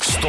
Stå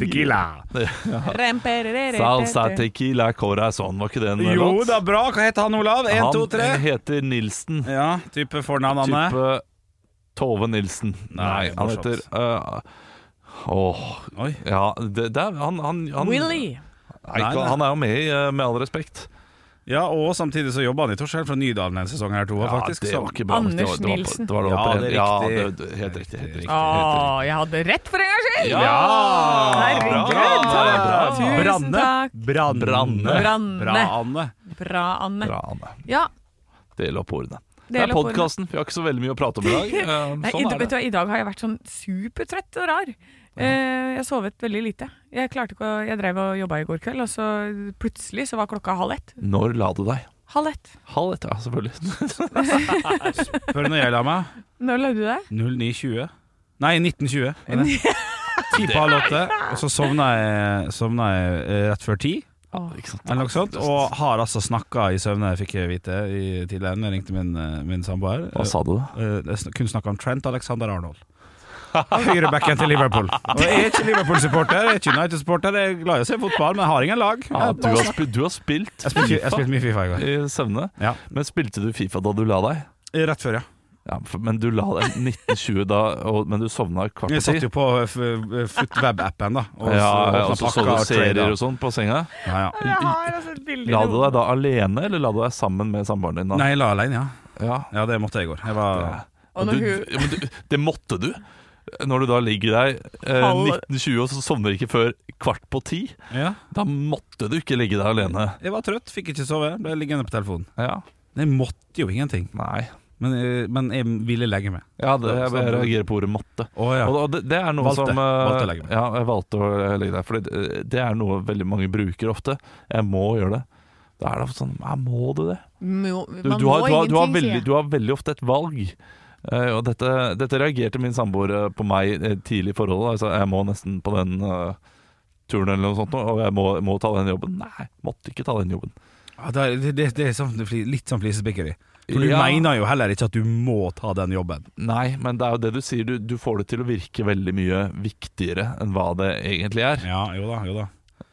Tequila. Salsa tequila corazon, var ikke det en Jo låt? da, bra. Hva heter han, Olav? En, to, tre. Han heter Nilsen. Ja, type fornavn, Anne. Type Tove Nilsen. Nei, han morsomt. heter øh, Åh, Oi. ja det, det er, han, han, han, Willy. Nei, Nei, ikke- nei. han er jo med i eh, Med all respekt. Ja, og samtidig så jobba han i Torshäll fra Nydalen en sesong her, to, Ja, faktisk. det så- var ikke bra. Anders det var, det var, Nilsen. Det var, det Ja, var, det er ja, riktig. det- det- helt riktig. Helt riktig. Å, jeg hadde rett for en gangs skyld! Ja! Herregud, Bra, takk. bra. Tusen Branne. takk. Branne. Branne. Bra, Anne. Bra, Anne. Bra, Anne. Ja, Del opp ordene. Det del er opp ordene. podkasten. Vi har ikke så veldig mye å prate om i dag. Eh, Nei, i, Sånn er vet du, det. hva, I dag har jeg vært sånn supertrøtt og rar. Eh, jeg sovet veldig lite. Jeg klarte ikke å, jeg drev og jobba i går kveld, og så plutselig så var klokka halv ett. Når la du deg? Halv ett. Halv ett, ja, selvfølgelig. Spør når jeg la meg. Når la du deg? 09.20. Nei, 19.20. er det? Ti på halv åtte, og så sovna jeg, sovna jeg eh, rett før ti. Ikke sant? Eller noe sånt, og har altså snakka i søvne, fikk jeg vite i tidligere. Jeg ringte min, eh, min samboer. Hva sa du? da? Eh, Jeg sn- kun snakka om Trent Alexander Arnold. Høyrebacken til Liverpool. Og jeg er ikke Liverpool-supporter, jeg er ikke United-supporter. Jeg er glad i å se fotball, men jeg har ingen lag. Ja, du, Jeg har spilt, du har spilt spilte jeg FIFA spilte mye Fifa i går. i søvne. Ja. Men spilte du Fifa da du la deg? Rett før, ja. Ja, for- men du la deg 19.20 da, og, men du sovna kvart på Jeg satt ti. jo på eh, f- eh, FootWeb-appen, da. Ja, ja, og så så du serier og sånn. sånn på senga. Ja, ja. Jeg har altså et bilde i La du hodet. deg da alene, eller la du deg sammen med samboeren din? da? Nei, jeg la alene, ja. Ja. Ja, det måtte jeg i går. Jeg var Og Og når du, hun- ja, men du, det måtte du. Når du da ligger deg eh, Halv- 19.20 og så sovner ikke før kvart på ti, ja. da måtte du ikke ligge deg alene. Jeg var trøtt, fikk ikke sove, ble liggende på telefonen. Ja, Jeg måtte jo ingenting, Nei. men, eh, men jeg ville legge meg. Ja, det, jeg, jeg reagerer på ordet 'måtte'. Å ja. Og, og det, det er noe Valgte. som eh, Valgte å legge meg. Ja, jeg valgte å eh, legge deg. For det, det er noe veldig mange bruker ofte. 'Jeg må gjøre det'. Da er det ofte sånn ja, 'Må du det?' Må- Du, man du, har, må du, har, du, har ingenting, veldig, sier jeg. du har veldig ofte et valg. Eh, og dette, dette reagerte min samboer eh, på meg eh, tidlig i forholdet. Altså, jeg må nesten på den eh, turen eller noe sånt, nå, og jeg må, må ta den jobben. Nei, måtte ikke ta den jobben. Ja, det, er- det, det er sånn, fli- litt sånn flisespikkeri. For du Ja. mener jo heller ikke at du må ta den jobben. Nei, men det er jo det du sier. Du, du får det til å virke veldig mye viktigere enn hva det egentlig er. Ja, jo da, jo da.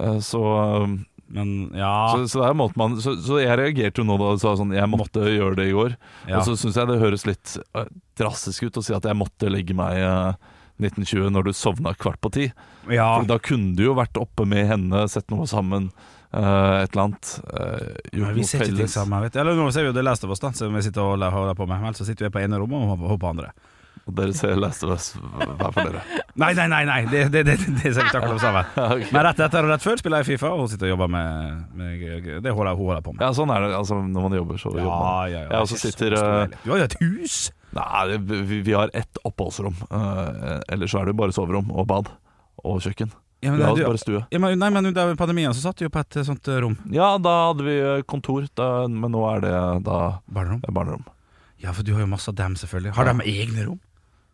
Eh, så, eh, Men Ah. ja, så, så det er en måte man Så, så jeg reagerte jo nå da du sa sånn Jeg måtte gjøre det i går. ja. Og så syns jeg det høres litt eh, drastisk ut å si at jeg måtte legge meg eh, 1920 når du sovna kvart på ti. ja. Fordi da kunne du jo vært oppe med henne, sett noe sammen, eh, et eller annet. eh, gjort Men vi noe ser ikke ting felles. sammen. Vet du. Eller nå ser vi jo The Last of Us, da, som vi sitter og holder på med. Vel, så sitter vi på ene rommet og hun på andre. Og dere ser Last of Us hver for dere. Nei, nei, nei, nei. Det, det, det, det ser vi takler opp sammen. Men rett etter og rett før spiller jeg Fifa, og hun sitter og jobber med, med det holder hun holder på med. Ja, sånn er det altså, når man jobber, så jobber man. Jeg også sitter eh, Du har jo et hus! Nei, det- vi, vi har ett oppholdsrom. eh, ellers så er det jo bare soverom og bad og kjøkken. Ja, men, Vi har du, jo bare stue. ja, men, nei, men under pandemien så satt du jo på et eh, sånt eh, rom. Ja, da hadde vi eh, kontor, da, men nå er det da Barnerom. det er barnerom. Ja, for du har jo masse av dem, selvfølgelig. Har de egne rom?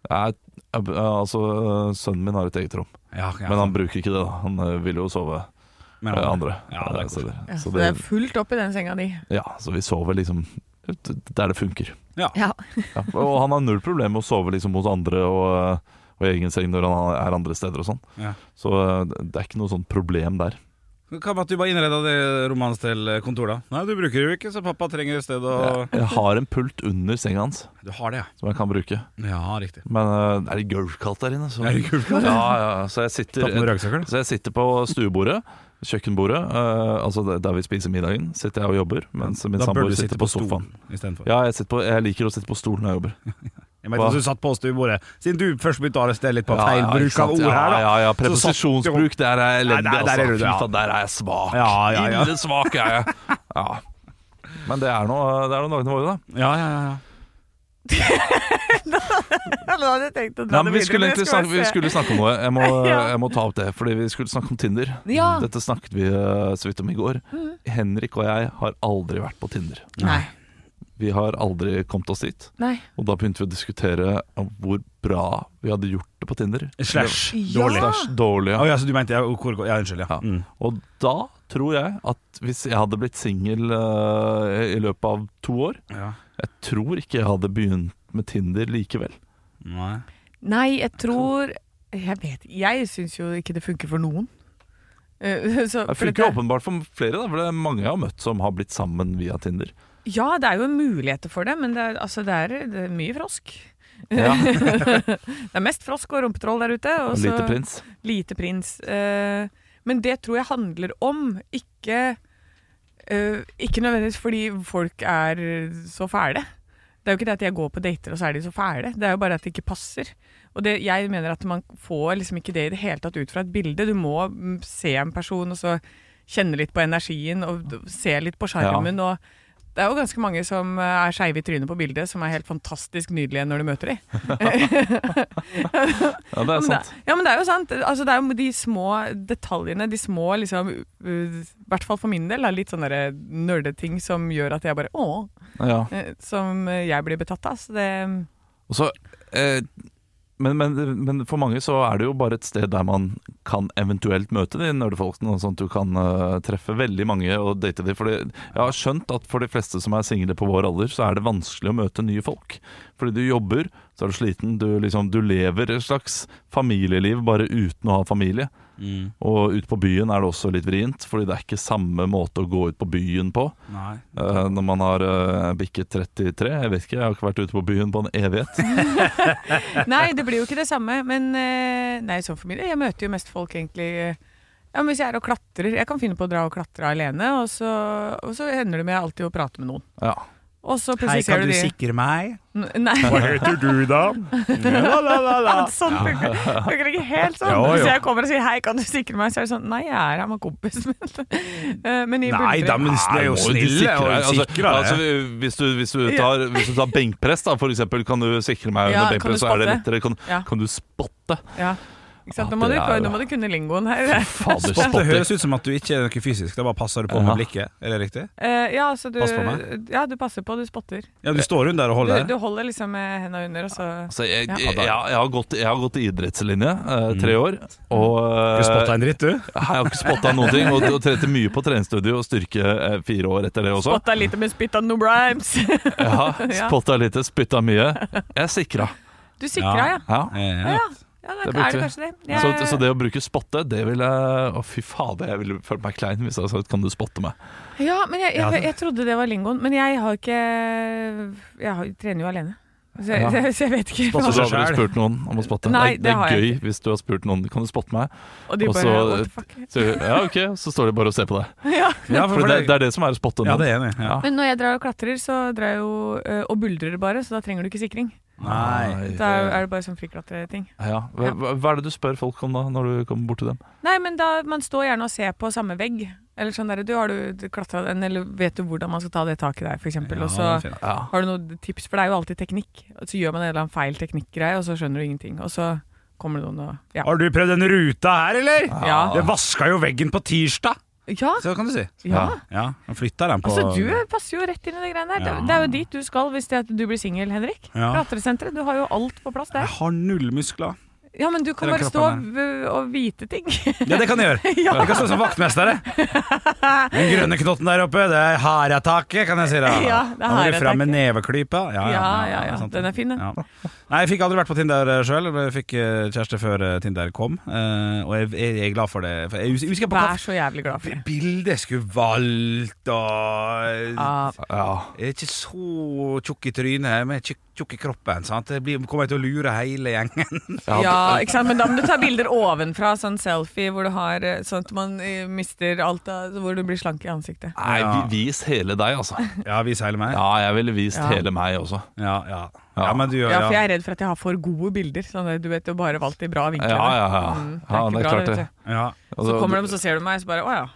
Jeg, jeg, altså, eh, sønnen min har et eget rom, Ja, ja. men han bruker ikke det. da Han eh, vil jo sove Men- eh, andre Ja, det er eh, steder. Ja, Så så det det, er fullt opp i den senga di. Ja, så vi sover liksom der det funker. Ja. Ja. Og han har null problem med å sove liksom hos andre og, og i egen seng når han er andre steder og sånn. Ja. Så det er ikke noe sånt problem der. Hva med at du bare innreda det rommet hans til kontor, da? Nei, du bruker det jo ikke, så pappa trenger et sted å Jeg, jeg har en pult under senga hans Du har det, ja. som jeg kan bruke. Ja, riktig. Men eh, det er litt gulvkaldt der inne. Så, Er det gulvkaldt? Ja, ja, så jeg Tatt med sitter, røyksokker, da? så jeg sitter på stuebordet, kjøkkenbordet, eh, altså der- der vi spiser middagen, sitter jeg og jobber, mens min Da bør samboer du sitter sitte på sofaen. istedenfor. Ja, jeg, sitter på, jeg liker å sitte på stolen når jeg jobber. Jeg mente at Hva? du satt på stuebordet. Siden du først begynte å arrestere litt på Ja, feil ja, bruk ikke sant? av ord her, da. Ja, ja, ja. så satt du jo- Preposisjonsbruk, der er jeg elendig. Nei, der- der er altså. du, ja. Fy faen, der er jeg svak. Ja, ja, ja. Ille svak er jeg. Ja. Men det er nå det er nå dagene våre, da. Ja, ja, ja, ja. Ja, men da hadde jeg tenkt å dra Nei, men det vi videre, skulle men jeg egentlig skal snakke, bare vi se. skulle snakke om noe. Jeg må, Ja. jeg må ta opp det, fordi vi skulle snakke om Tinder. Ah. Ja. Mm. Dette snakket vi eh, så vidt om i går. Henrik og jeg har aldri vært på Tinder. Nei. Vi har aldri kommet oss dit. Nei. Og da begynte vi å diskutere om hvor bra vi hadde gjort det på Tinder. Slash Ja. dårlig. Slash dårlig. Ja. Å ja, så du mente ja, hvor, ja, unnskyld, ja. Ja. Mm. Og da tror jeg at hvis jeg hadde blitt singel eh, i løpet av to år ja. Jeg tror ikke jeg hadde begynt med Tinder likevel. Nei. Nei, jeg tror Jeg vet Jeg syns jo ikke det funker for noen. Eh, så- Det for funker jo dette- åpenbart for flere, da, for det er mange jeg har møtt som har blitt sammen via Tinder. Ja, det er jo muligheter for det, men det er, altså, det er, det er mye frosk. Ja, Det er mest frosk og rumpetroll der ute. Og og så- Lite prins. Lite prins. Eh, men det tror jeg handler om ikke eh, Ikke nødvendigvis fordi folk er så fæle. Det er jo ikke det at jeg går på dater, og så er de så fæle. Det er jo bare at det ikke passer. Og det, jeg mener at man får liksom ikke det i det hele tatt ut fra et bilde. Du må mm, se en person, og så kjenne litt på energien, og d- se litt på sjarmen. Og det er jo ganske mange som eh, er skeive i trynet på bildet, som er helt fantastisk nydelige når du møter dem. Ja, det er men det- sant. Ja, men det er jo sant. Altså, det er jo de små detaljene, de små liksom uh, I hvert fall for min del, da, litt sånne der nerdeting som gjør at jeg bare Å! Ja. eh, Som eh, jeg blir betatt av. Så det Og så, eh, men, men, men for mange så er det jo bare et sted der man kan eventuelt møte de nerdefolkene, og sånn at du kan eh, treffe veldig mange og date de. Fordi jeg har skjønt at for de fleste som er single på vår alder, så er det vanskelig å møte nye folk. Fordi du jobber, så er du sliten, du, liksom, du lever et slags familieliv bare uten å ha familie. Mm. Og ute på byen er det også litt vrient, fordi det er ikke samme måte å gå ut på byen på. Nei. Eh, når man har eh, bikket 33. Jeg vet ikke, jeg har ikke vært ute på byen på en evighet. Nei, det blir jo ikke det samme. Men eh, nei, som familie. Jeg møter jo mest folk egentlig eh, ja, men Hvis jeg er og klatrer Jeg kan finne på å dra og klatre alene, og så, og så hender det meg alltid å prate med noen. Ja. Og så Hei, plutselig kan ser du du de sikre meg? N- Nei. Hva heter du, da? La, la, la, la. Ja, sånn funker funker ikke helt sånn. Jo, jo. Hvis jeg kommer og sier 'hei, kan du sikre meg', så er det sånn 'nei, jeg er her med kompisen min'. Eh, Men i Nei Buldre- da, men de er jo Nei, må du snille sikre deg. og Altså, sikre altså, deg. hvis, du, hvis, du tar, hvis du tar benkpress, da, for eksempel, kan du sikre meg Ja, under kan du benkpress, så er det spotte? lettere. Kan, Ja. kan du spotte? Ja. Ikke sant? Ja, Nå, må du, det er jo- nå må du kunne lingoen her. Fader, Det spotter. høres ut som at du ikke er noe fysisk, da bare passer du på Ja. med blikket. Er det riktig? Eh, Ja, så du, Pass på meg. ja, du passer på, du spotter. Ja, du står rundt der og Du, holder. du holder liksom eh, henda under, og så Altså, jeg, Ja. jeg, jeg, jeg, har gått, jeg har gått i idrettslinje eh, tre Mm. år, og Du eh, spotta en dritt, du. jeg har ikke spotta noen ting. Og, og trente mye på treningsstudio og styrke eh, fire år etter det også. spotta litt med spytt og no brimes. Ja, Ja. spotta lite, spytta mye. Jeg sikra. Du sikra, ja. Ja. Ja. Ja, ja da Det er brukte det vi. kanskje det. Så, Jeg- så det å bruke spotte, det ville Å, fy fader, jeg ville følt meg klein hvis jeg hadde sagt 'kan du spotte meg'? Ja, men jeg, Ja, jeg, det- jeg trodde det var lingoen, men jeg har ikke Jeg har, trener jo alene. Så, jeg- Ja. så jeg vet ikke. Så Spotter hva- Altså, du seg har aldri selv. spurt noen om å spotte? Nei, det, det det har er jeg gøy hvis du har spurt noen 'kan du spotte meg'? Og de Og bare så- What the fuck? Så, ja, ok, så står de bare og ser på deg. Ja, For det, det er det som er å spotte ja, noen. det er enig. Ja. Ja. Men når jeg drar og klatrer, så drar jeg jo øh, og buldrer bare, så da trenger du ikke sikring. Nei. Da er, er det bare sånn friklatreting. Ja. Hva, hva- hva er det du spør folk om da, når du kommer bort til dem? Nei, men da man står gjerne og ser på samme vegg. Eller sånn derre Du, har du klatra den, eller vet du hvordan man skal ta det taket der, f.eks.? eksempel og så Ja, den er fin. Ja. har du noen tips, for det er jo alltid teknikk. Og så gjør man en eller annen feil teknikkgreie, og så skjønner du ingenting. Og så kommer det noen og Ja. Har du prøvd den ruta her, eller? Ja. Det vaska jo veggen på tirsdag! ja. Så kan du si. ja. Ja, han flytta den på Altså, du passer jo rett inn i de greiene der. Ja. Det, det er jo dit du skal hvis det er at du blir singel, Henrik. Ja. Klatresenteret. Du har jo alt på plass Jeg der. har null muskler. Ja, men du kan Eller bare stå kroppen v- og hvite ting. Ja, det kan jeg gjøre. Jeg kan stå sånn. som vaktmester. jeg. Den grønne knotten der oppe, det er haretaket, kan jeg si. Da. Ja, det er Da må du fram haretaket. med neveklypa. Ja, ja, ja. sant. Den er fin, den. Ja. Nei, jeg fikk aldri vært på Tinder sjøl. Jeg fikk eh, kjæreste før eh, Tinder kom, eh, og jeg, jeg er glad for det. For Jeg hus- jeg husker på Vær hva så jævlig glad for det. bildet jeg skulle valgt, og Ja, Ja. Jeg er ikke så tjukk i trynet, men jeg er tjukk- tjukk i kroppen. sant? Det blir, kommer jeg til å lure hele gjengen. ja, ikke sant? Men da må du ta bilder ovenfra, sånn selfie hvor du har eh, Sånn at man eh, mister alt av Hvor du blir slank i ansiktet. Nei, Ja. vi, vis hele deg, altså. Ja, vis hele meg. Ja, Ja, jeg ville vist Ja. hele meg også. ja. ja. men du gjør Ja, for jeg ja. er redd for at jeg har for gode bilder. Sånn at du vet, du har bare valgt de bra Ja, vinklene. ja, ja. Mm, det er ja ikke det er bra, klart det, det. vet du. Ja. Og Så kommer de, så ser du meg, så bare Å ja.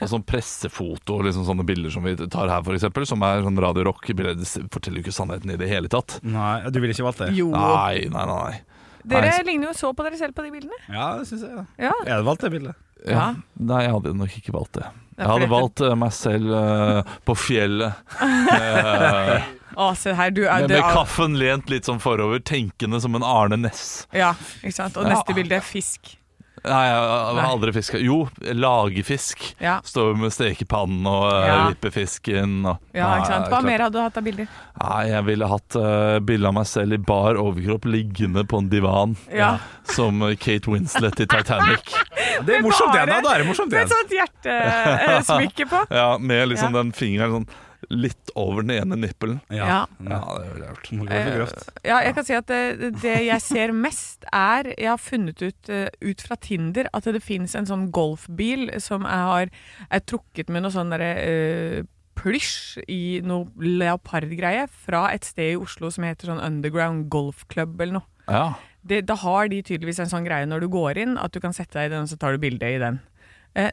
Og sånn pressefoto, liksom sånne bilder som vi tar her, for eksempel, som er sånn Radio Rock-bilder, det forteller jo ikke sannheten i det hele tatt. Nei, du ville ikke valgt det? Jo. Nei, nei, nei. nei. Dere ligner jo så på dere selv på de bildene. Ja, det syns jeg. Ja. Jeg hadde valgt det bildet. Ja. Ja. Nei, jeg hadde nok ikke valgt eh, det. Det er Jeg hadde fordi- valgt eh, meg selv eh, på fjellet. Med, Å, se her, du er Med, med død. kaffen lent litt sånn forover, tenkende som en Arne Næss. Ja, ikke sant? Og Ja. neste bilde er fisk. Nei, jeg jeg har Nei. aldri fiska. Jo, lagefisk. Ja. Står med stekepannen og Ja. ja. vipper fisken. Og, Ja, ikke sant? Hva klart. mer hadde du hatt av bilder? Nei, jeg ville hatt uh, bilde av meg selv i bar overkropp liggende på en divan. Ja. Som eh, Kate Winslet i Titanic. Det er morsomt, det. Da, da er det morsomt, Med et det. sånt hjertesmykke på. Ja, Med liksom Ja. den fingeren sånn litt over den ene nippelen. Ja. sånn- Ja, Eh, det ville jeg gjort. Må gå for grøft. Ja, jeg kan si at eh, det, det jeg ser mest er Jeg har funnet ut eh, ut fra Tinder at det finnes en sånn golfbil som jeg har er trukket med noe sånn derre eh, plysj i noe leopardgreie fra et sted i Oslo som heter sånn Underground Golf Club eller noe. Ja. Det, da har de tydeligvis en sånn greie når du går inn, at du kan sette deg i den, og så tar du bilde i den. Eh,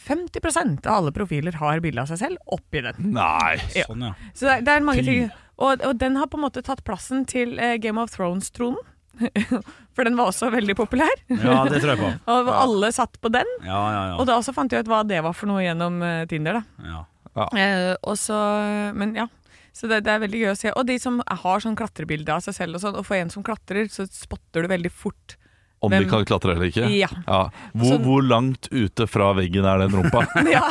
50 av alle profiler har bilde av seg selv oppi den. Nei. Ja. Sånn, ja. Så det er, det er mange Fy. ting. Og, og den har på en måte tatt plassen til eh, Game of Thrones-tronen. For den var også veldig populær, ja, det tror jeg på. og alle satt på den. Ja, ja, ja. Og da også fant jeg ut hva det var for noe gjennom eh, Tinder. da. ja. Eh, og så, men ja. Så det, det er veldig gøy å se. Og de som har sånn klatrebilde av seg selv og sånn, og for en som klatrer, så spotter du veldig fort. Om Hvem- de kan klatre eller ikke? Ja. Hvor, Så- hvor langt ute fra veggen er den rumpa? Ja.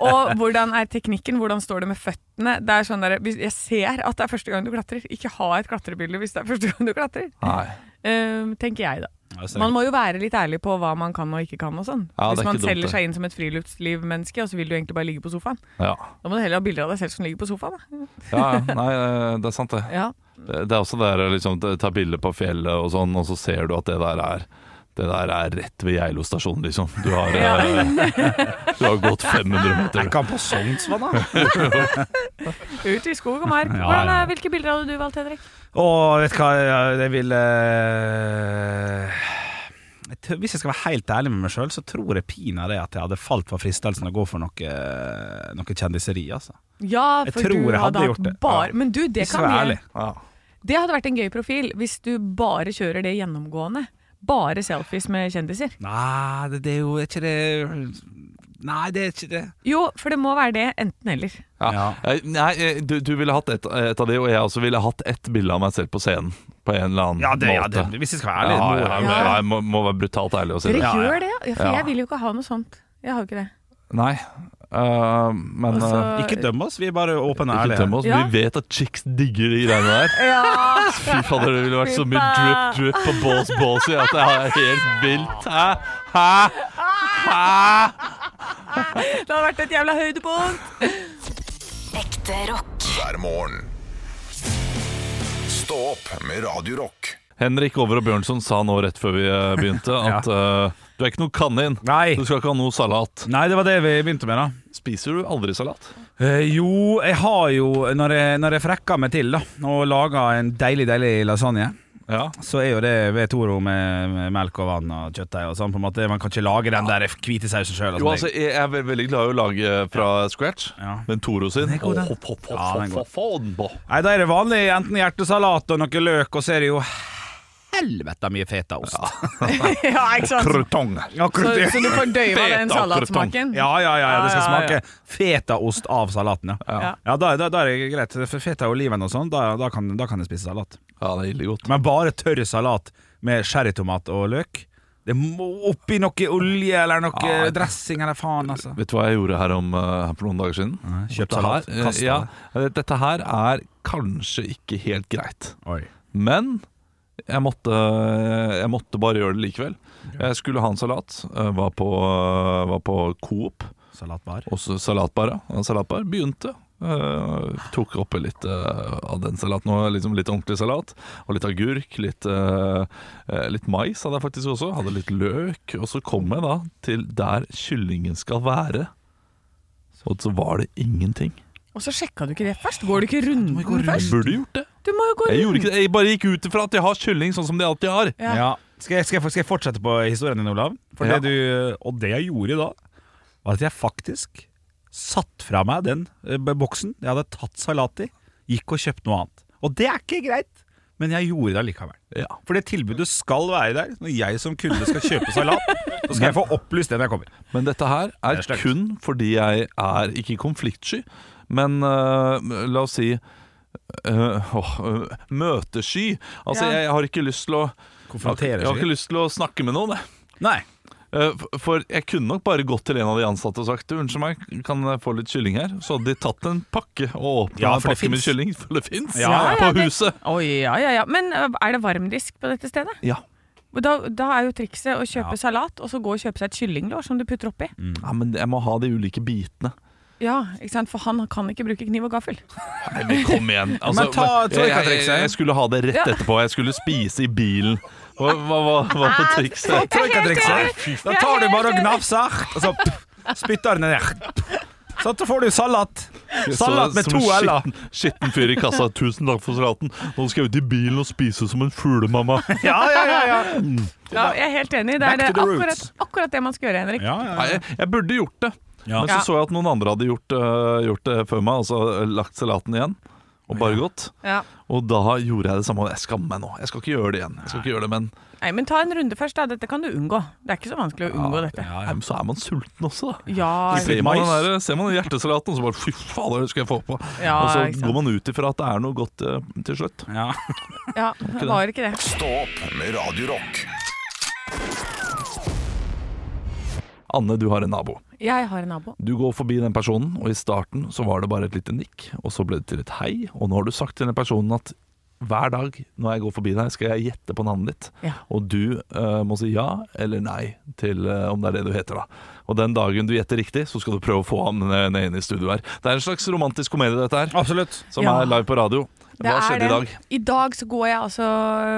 Og hvordan er teknikken? Hvordan står det med føttene? Det er sånn der, hvis- Jeg ser at det er første gang du klatrer. Ikke ha et klatrebilde hvis det er første gang du klatrer. Nei. Eh, tenker jeg, da. Ja, så- Man må jo være litt ærlig på hva man kan og ikke kan og sånn. Ja, det Hvis er man ikke dumt, selger det. seg inn som et friluftslivmenneske, og så vil du egentlig bare ligge på sofaen. Ja. Da må du heller ha bilder av deg selv som ligger på sofaen, da. ja, ja. nei, eh, det er sant det. Ja. Det det er også det der liksom, det- ta bilde på fjellet og sånn, og så ser du at det der er det der er rett ved Geilo stasjon, liksom. Du har, Ja. eh, du har gått 500 meter. Tenk han på Sognsvann, da. Ut i skog og mark. Ja, Hvordan ja. er, hvilke bilder hadde du valgt, Henrik? Og vet du hva, jeg- jeg vil eh, jeg tror- Hvis jeg skal være helt ærlig med meg sjøl, så tror jeg pinadø at jeg hadde falt for fristelsen å gå for noe, noe kjendiseri, altså. Ja, Jeg for tror du jeg hadde hatt gjort det. Bare, Ja. Men du, det Hvis jeg kan skal være bli ærlig. Ja. Det hadde vært en gøy profil hvis du bare kjører det gjennomgående. Bare selfies med kjendiser. Nei, det, det er jo ikke det Nei, det er ikke det. Jo, for det må være det enten-eller. Ja. Ja. Eh, Nei, eh, du, du ville hatt et, eh, et av de, og jeg også ville hatt ett bilde av meg selv på scenen. På en eller annen Ja, det, ja, måte. det hvis jeg skal være Ja, ærlig. må ja, jeg- ja, ja, jeg må, må være brutalt ærlig og si Dere det. Ja, ja. gjør det, ja. For Ja. jeg vil jo ikke ha noe sånt. Jeg har jo ikke det. Nei, eh, men Og så- eh, Ikke døm oss, vi er bare åpne og ikke tøm ærlige. oss. Ja. Vi vet at chicks digger de greiene der. Ja! Fy fader, det ville vært så mye drip, drip og balls, balls i at det er helt vilt. Hæ? Hæ? Hæ? Det hadde vært et jævla høydepunkt! Ekte rock. hver morgen. Stå opp med Radio Rock. Henrik Over og Bjørnson sa nå rett før vi eh, begynte at eh, du er ikke noe kanin. Nei. Du skal ikke ha noe salat. Nei, det var det vi begynte med, da. Spiser du aldri salat? Eh, jo, jeg har jo Når jeg, når jeg frekker meg til da og lager en deilig, deilig lasagne, Ja. så er jo det Vetoro med, med melk og vann og kjøttdeig og sånn. på en måte Man kan ikke lage den der hvite sausen sjøl. Jo, altså, jeg er ve- veldig glad i å lage fra scratch. Ja. Men Toro sin Den er god, den. Å, få- få- Ja, den få- er god. få den på. Nei, da er det vanlig enten hjertesalat og noe løk, og så er det jo helvete mye fetaost. Ja, ikke sant? Krutong. Ja, Så, akkurat det. så du fordøyva Feta den salatsmaken? ja, ja, ja, det skal Ja, ja, ja. smake fetaost av salaten, ja. Ja. Ja, da, da, da er det greit. For feta og oliven og sånn, da, da, kan, da kan jeg spise salat. Ja, det er ille godt. Men bare tørr salat med sherrytomat og løk. Det må oppi noe olje eller noe Ja. dressing eller faen, altså. Vet du hva jeg gjorde her om eh, her for noen dager siden? Nei, kjøpt Dette salat, her, eh, kastet ja, eh, Dette her er kanskje ikke helt greit, Oi. men jeg måtte, eh, jeg måtte bare gjøre det likevel. Jeg skulle ha en salat. eh, Var på, eh, var på Coop, Salatbar. også salatbar. ja. En Salatbar begynte. eh, tok oppi litt eh, av den salaten. og Liksom litt ordentlig salat. Og litt agurk. Litt, eh, eh, litt mais hadde jeg faktisk også. Hadde litt løk. Og så kom jeg da til der kyllingen skal være. Og så var det ingenting. Og så sjekka du ikke det først? Går du ikke runden Jeg først? burde gjort det. Du må jo gå Jeg runden. gjorde ikke det. Jeg bare gikk ut ifra at jeg har kylling sånn som de alltid har. Ja. Ja. Skal, jeg, skal, jeg, skal jeg fortsette på historien din, Olav? For Ja. det du, og det jeg gjorde da, var at jeg faktisk satt fra meg den eh, boksen jeg hadde tatt salat i, gikk og kjøpte noe annet. Og det er ikke greit, men jeg gjorde det allikevel. Ja. For det tilbudet skal være der når jeg som kunde skal kjøpe salat. Så skal jeg få opplyst det når jeg kommer. Men dette her er, Det er stygt. kun fordi jeg er ikke konfliktsky, men øh, eh, la oss si eh, åh, eh, møtesky. Altså, Ja. jeg, jeg har ikke lyst til å Konfrontere jeg har seg. ikke lyst til å snakke med noen. jeg. Nei. Eh, f- For jeg kunne nok bare gått til en av de ansatte og sagt "Du, Unnskyld meg, kan jeg få litt kylling her? Så hadde de tatt en pakke og åpna Ja, en for det pakke med finnes. kylling, for det fins, Ja, ja, på det- huset. Å ja, ja, ja. Men ø, er det varmdisk på dette stedet? Ja. Og Da, da er jo trikset å kjøpe Ja. Mm. salat, og så gå og kjøpe seg et kyllinglår som du putter oppi. ja, men jeg må ha de ulike bitene. Ja, ikke sant? For han kan ikke bruke kniv og gaffel. Nei, men kom igjen. Altså, men ta jeg, jeg, troikatrikset. jeg skulle ha det rett Ja. etterpå. Jeg skulle spise i bilen. Hva, hva, hva, hva Ah, var trikset? Troikatrikset. Da tar du bare og gnafser, og så pff, spytter du ned. Sånn, så får du salat. Salat med Som en to l-er. skitten- Skitten fyr i kassa. Tusen takk for salaten. Nå skal jeg ut i bilen og spise som en fugl, mamma. Ja, ja, ja, ja. Ja, jeg er helt enig. Det Back er det to the akkurat, roots. akkurat det man skal gjøre, Henrik. ja, Nei, jeg, jeg burde gjort det. Ja. Men så så jeg at noen andre hadde gjort, øh, gjort det før meg, altså øh, lagt salaten igjen. Og bare gått. Ja. Og da gjorde jeg det samme. Jeg skammer meg nå. Jeg skal ikke gjøre det igjen. Jeg skal ikke gjøre det, Men Nei, men ta en runde først, da. Dette kan du unngå. Det er ikke så vanskelig å unngå dette. ja, Nei, men så er man sulten også, da. Ja, altså. Ser litt man, mais. den der, ser man den hjertesalaten, så bare fy fader, det skal jeg få på. ja, og ikke så sant. går man ut ifra at det er noe godt øh, til slutt. ja. ja, det var ikke det. Stå opp med Radio Rock. Anne, du har en nabo. Jeg har en nabo. Du går forbi den personen, og i starten så var det bare et lite nikk, og så ble det til et hei, og nå har du sagt til den personen at hver dag når jeg går forbi deg, skal jeg gjette på navnet ditt. Ja. Og du eh, må si ja eller nei til eh, om det er det du heter, da. Og den dagen du gjetter riktig, så skal du prøve å få ham ned ned inn i studio her. Det er en slags romantisk komedie, dette her, Absolutt. som Ja. er live på radio. Hva er skjedde i det. dag? I dag så går jeg altså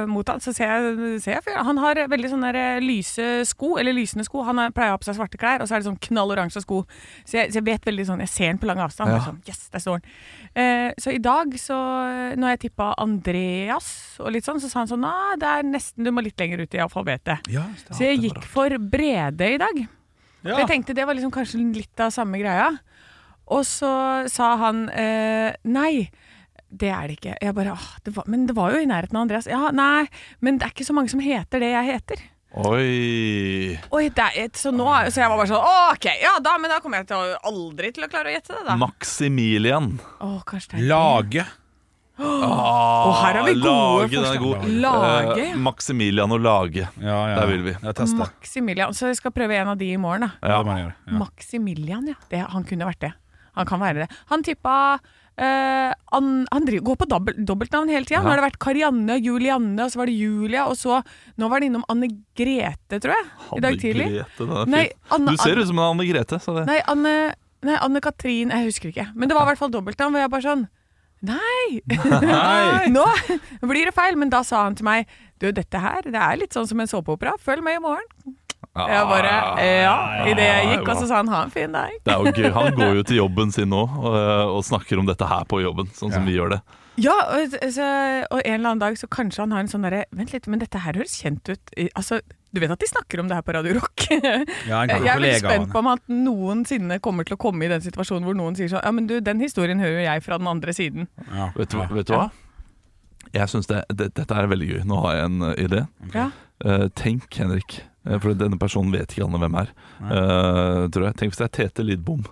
mot han, så ser jeg, ser jeg fyren. Han har veldig sånne der eh, lyse sko, eller lysende sko. Han har- pleier å ha på seg svarte klær, og så er det sånn knalloransje sko. Så jeg, så jeg vet veldig sånn, jeg ser han på lang avstand. Ja. og Sånn, yes, der står han. Eh, så i dag, så når jeg tippa Andreas og litt sånn, så sa han sånn, nei, det er nesten, du må litt lenger ut i alfabetet. Ja, Så jeg gikk for Brede i dag. For Ja. Jeg tenkte det var liksom kanskje litt av samme greia. Og så sa han eh, nei. Det er det ikke. Jeg bare, «Åh, det var, men det var jo i nærheten av Andreas. Ja, nei, men det er ikke så mange som heter det jeg heter. Oi Oi, det er, et- så, nå, så jeg var bare sånn «Å, OK, ja da, men da kommer jeg til å, aldri til å klare å gjette det, da. Maximilian. Å, kanskje det er Lage. Og her er vi gode forslag. Lage, Eh, ja. Maximilian og Lage. Ja, ja. Der vil vi. Ja, teste. Maximilian. Så jeg skal prøve en av de i morgen, da. Ja, Mm. det må jeg gjøre. Ja. Maximilian, ja. Det, han kunne vært det. Han kan være det. Han tippa eh, han, han driver, går på dobbelt, dobbeltnavn hele tida. Ja. Nå har det vært Karianne og Julianne, og så var det Julia, og så Nå var det innom Anne Grete, tror jeg. I dag tidlig. Grete, den er Nei, fin. Anne, Du ser ut som en Anne Grete. Sa det. Nei, Anne, nei, Anne Katrin Jeg husker ikke. Men det var i hvert fall dobbeltnavn, hvor jeg bare sånn Nei! Nå blir det feil. Men da sa han til meg Du, dette her, det er litt sånn som en såpeopera. Følg med i morgen. Jeg bare eh. Ja. Idet jeg gikk, og så sa han ha en fin dag. Ah. Det er jo gøy. Han går jo til jobben sin nå og, eh, og snakker om dette her på jobben, sånn som Ja. vi gjør det. Ja, og, så, og en eller annen dag så kanskje han har en sånn derre Vent litt, men dette her høres kjent ut. I- Altså, du vet at de snakker om det her på Radio Rock? Ja, en Jeg er veldig kollega av spent på om at noensinne kommer til å komme i den situasjonen hvor noen sier sånn Ja, men du, den historien hører jo jeg fra den andre siden. han. Ja. Vet du, Ja. vet du hva? Jeg synes det, det, Dette er veldig gøy. Nå har jeg en eh, idé. Ja. Eh, tenk, Henrik, eh, for denne personen vet ikke alle hvem er. Eh, tror jeg. Tenk hvis det er Tete Lidbom,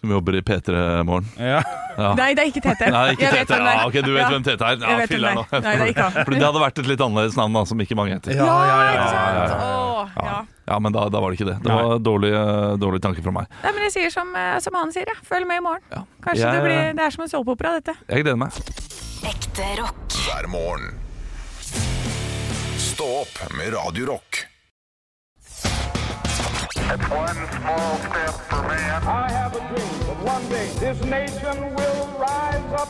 som jobber i P3 Morgen. Ja. Ja. Nei, det er ikke Tete. Nei, ikke Jeg vet Tete. hvem det er. Ja, ok, du vet Ja. hvem Tete er. Ah, Jeg Ja, vet hvem fyller nå. det er. Nei, det er ikke han. For det hadde vært et litt annerledes navn da, som ikke mange heter. Ja, ja, ja, ikke ja, ja, sant? ja. Åh, ja. Ja, men da, da var det ikke det. Det Nei. var dårlig, eh, dårlig tanke fra meg. Nei, men jeg sier som, eh, som han sier, jeg. Følg med i morgen. Ja. Kanskje Jeg- det blir Det er som en såpeopera, dette. Jeg gleder meg. Ekte rock. Hver morgen. Stå opp med Radio Rock. I have a dream that one day this nation will rise up.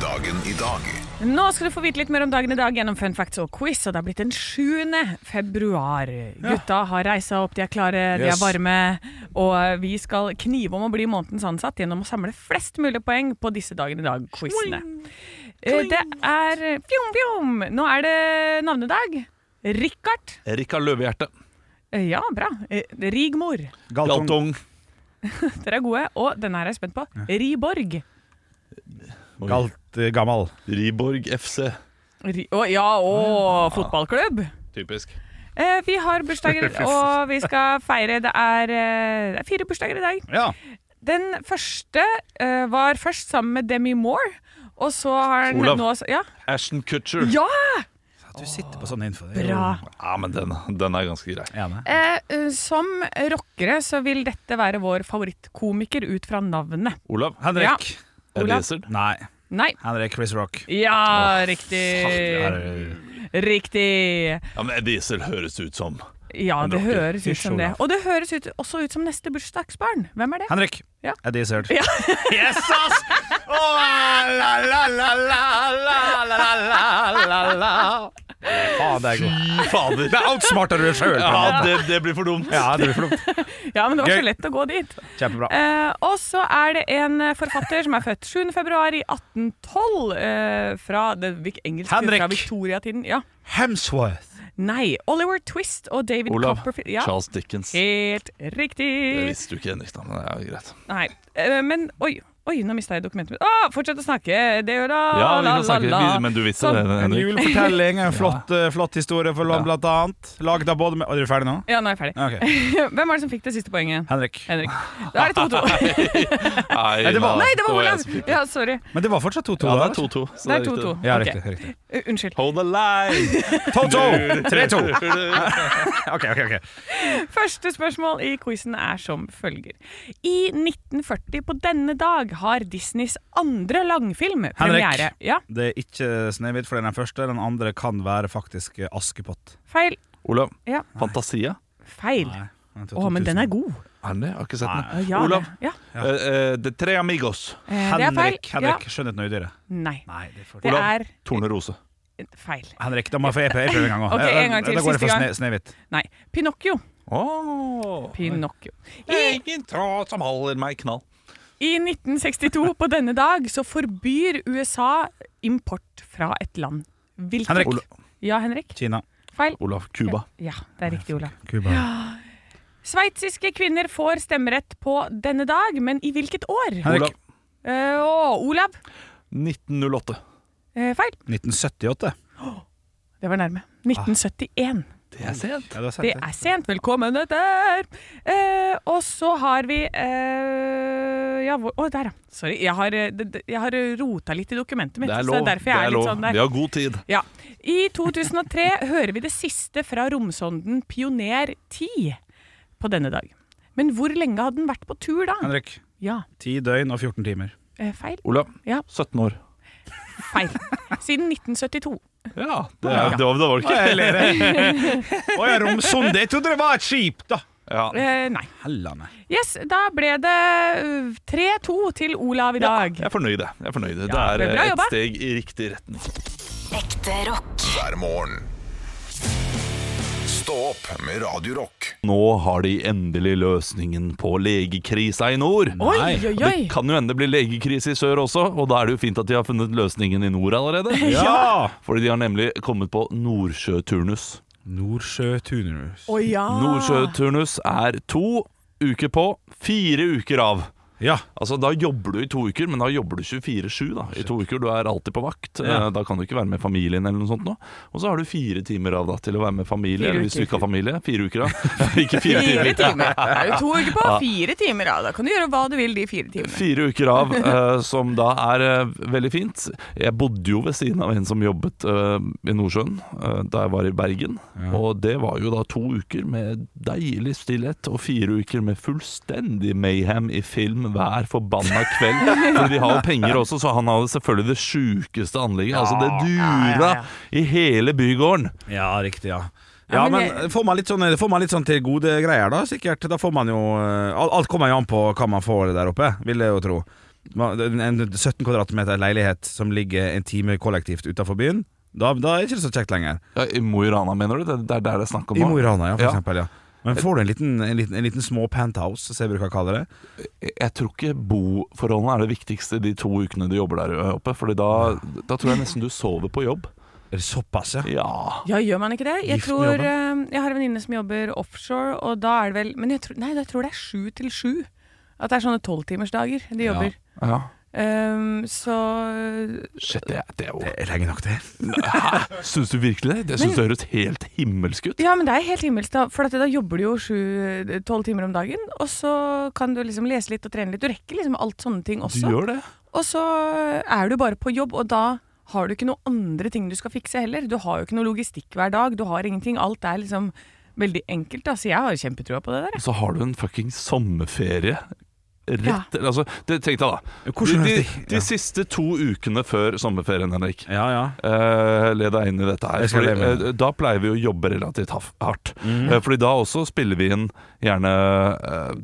Dagen i dag. Nå skal du få vite litt mer om dagen i dag gjennom Fun facts og quiz. Og det er blitt den 7. februar. Gutta har reisa opp, de er klare, de er Yes. varme. Og vi skal knive om å bli månedens ansatt gjennom å samle flest mulig poeng på disse dagen i dag-quizene. Eh, Det er fjom, fjom! Nå er det navnedag. Rikard. Rikard Løvehjerte. Eh, Ja, bra. Eh, Rigmor. Galtung. Galtung. Dere er gode. Og denne her er jeg spent på. Riborg. Galt eh, gammal. Riborg FC. Ri å, ja, og fotballklubb. Typisk. Eh, vi har bursdager, og vi skal feire. Det er, eh, det er fire bursdager i dag. Ja. Den første eh, var først sammen med Demi Moore. Og så har han Olav. nå Ja! Ashton Kutcher. ja! At du sitter på sånn info. det er jo- Bra. Ja, men den, den er ganske grei. Enig. Eh, eh, som rockere så vil dette være vår favorittkomiker ut fra navnet. Olav. Henrik. Ja. Jeg Olav. leser den. Nei. Nei. Henrik Chris Rock. Ja, riktig. Herregud. Riktig. Ja, men Diesel høres ut som Ja, En det rocker. høres ut Fysj, som det. Olav. Og det høres ut, også ut som neste bursdagsbarn. Hvem er det? Henrik. Ja. Eddie Izzard. Ja. Yes, ass! Åh, la, la, la, la, la, la, la, la, la. Faen, det er godt. Fy fader! Det outsmarter du deg sjøl! Ja, det, det blir for dumt. Ja, det blir flott. Ja, men det var Gøy. så lett å gå dit. Kjempebra. Eh, og så er det en eh, forfatter som er født 7. februar i 1812 eh, fra det vik- engelske Henrik. fra Victoria-tiden. Ja. Hemsworth. Nei. Oliver Twist og David Olav. Copperfield. Ja. Charles Dickens. Det Helt riktig. visste du ikke, Henrik, da, men det er jo greit. Nei. eh, men oi, oi nå mista jeg dokumentet mitt. Å, fortsett å snakke! Det gjør da Ja, vi Ah, la, kan la, snakke la. videre, men du visste det, En Henrik. julefortelling, en flott, eh, flott historie for land, Ja. blant annet. Laget av både med Er du ferdig nå? Ja, nå er jeg ferdig. Ok. Hvem var det som fikk det siste poenget? Henrik. Henrik. Da er det 2-2. Nei, det var- Nei, det var jeg Olav! som fikk det. Ja, sorry. Men det var fortsatt Ja, 2-2. det da, er vet du. 2-2. så Det er riktig. 2-2. Ja, Ok. riktig. riktig. U- Unnskyld. Hold the line! 2-2! 3-2. Ok, ok, ok. Første spørsmål i quizen er som følger. I 1940 på denne dag har Disneys andre langfilm premiere. Ja, Det er ikke Snehvit, for det er den første. Den andre kan være faktisk eh, Askepott. feil. Olav. Ja, Fantasia? feil. Nei, den er Å, men 2000. den er god. Er den det? Jeg har ikke sett den. Nei. Ja, Olav. det- Ja. Ja. Eh, eh, De tre amigos. Eh, Det er feil. Henrik, Henrik skjønnheten og udyret. Ja. Nei. Nei, det er for... Det Olav. er Torne Rose. feil. Henrik, da må jeg få E jeg prøver- jeg prøver en gang òg. Ok, en gang til, da går jeg siste for gang. Sne- Snehvit. Nei. Pinocchio. Oh. Pinocchio. I, Ingen tråd som holder meg knall. I 1962 på denne dag så forbyr USA import fra et land. Hvilket? Henrik. Ja, Henrik. Kina. Feil. Olav. Cuba. Ja, det er riktig, Olav. Cuba. Sveitsiske kvinner får stemmerett på denne dag, men i hvilket år? Henrik. Eh, og Olav? 1908. Eh, feil. 1978. Det var nærme. Ah. 1971. Det er sent. Ja, du har sett Det er sent. Velkommen etter! Eh, og så har vi eh, Ja, hvor Å, der, ja. Sorry. Jeg har, eh, det- det- jeg har rota litt i dokumentet mitt. Det er Så lov. det er derfor jeg er, litt sånn der. Vi har god tid. Ja. I 2003 hører vi det siste fra romsonden Pioner 10 på denne dag. Men hvor lenge hadde den vært på tur da? Henrik. Ja, 10 døgn og 14 timer. eh, feil. Olav. Ja. 17 år. Feil. Siden 1972. Ja, det, er- det, var, det var det ikke. Å ja, romsonde. Jeg trodde det var et skip, da. Ja. Eh, nei. Hellene. Yes, da ble det øh, 3-2 til Olav i dag. Jeg er fornøyd. jeg. Jeg er fornøyd. Det Ja, er det er bra eh, et jobba. steg i riktig retning. Ekte rock. hver morgen. Stå opp med Radio Rock. Nå har de endelig løsningen på legekrisa i nord. Oi, oi, Og oi. Det kan jo hende det blir legekrise i sør også, og da er det jo fint at de har funnet løsningen i nord allerede. Ja! Fordi de har nemlig kommet på Nordsjøturnus. Nordsjø-Tunus. Å ja. Nordsjøturnus er to uker på, fire uker av. Ja. Altså Da jobber du i to uker, men da jobber du 24-7 da i to uker. Du er alltid på vakt. Ja. Eh, Da kan du ikke være med familien eller noe sånt. nå Og så har du fire timer av da til å være med familie, Fire eller hvis du uker. ikke har familie. Fire uker da. ikke fire Fire timer. timer. Det er jo to uker på. Fire timer, ja. Da kan du gjøre hva du vil de fire timene. Fire uker av, eh, som da er eh, veldig fint. Jeg bodde jo ved siden av en som jobbet eh, i Nordsjøen eh, da jeg var i Bergen. Og det var jo da to uker med deilig stillhet, og fire uker med fullstendig mayhem i film hver forbanna kveld. For de har jo penger også, så han hadde selvfølgelig det sjukeste anlegget. Altså, det dura i hele bygården. Ja, riktig, ja. Ja, Ja, men men får man litt sånn, får man litt sånn til gode greier da, sikkert. Da får man jo eh, Alt alt kommer jo an på hva man får der oppe, vil jeg jo tro. Man- En 17 kvadratmeter leilighet som ligger en time kollektivt utafor byen, da, da er det ikke så kjekt lenger. Ja, I Mo i Rana, mener du? Det det er der det er snakk om I nå? Mo i Rana, ja, for Ja. eksempel. Ja. Men får du en liten, en liten, en liten små penthouse, som jeg bruker å kalle det. jeg jeg tror ikke boforholdene er det viktigste de to ukene du jobber der oppe. Fordi da, da tror jeg nesten du sover på jobb. Er det såpass, ja? Ja. Ja, gjør man ikke det? Jeg Gift med tror eh, Jeg har en venninne som jobber offshore, og da er det vel Men jeg tror, nei, jeg tror det er sju til sju. At det er sånne tolvtimersdager de jobber. ja. Ehm, så Shit, det, er- det er jo Det er lenge nok, det. Syns du virkelig det? Det syns det høres helt himmelsk ut. Ja, men det er helt himmelsk, da. For at da jobber du jo sju-tolv timer om dagen. Og så kan du liksom lese litt og trene litt. Du rekker liksom alt sånne ting Du også. gjør det. Og så er du bare på jobb, og da har du ikke noen andre ting du skal fikse heller. Du har jo ikke noe logistikk hver dag, du har ingenting. Alt er liksom veldig enkelt. da. Så jeg har kjempetrua på det der. jeg. Og så har du en fucking sommerferie. Rett, altså, det, tenk deg da. De, Hvordan de, høres det? de siste to ukene før sommerferien, Henrik, Ja, ja. eh, led deg inn i dette her. Jeg skal Fordi, leve med det. Mhm. eh, da pleier vi å jobbe relativt haf- hardt. Eh, fordi da også spiller vi inn gjerne eh,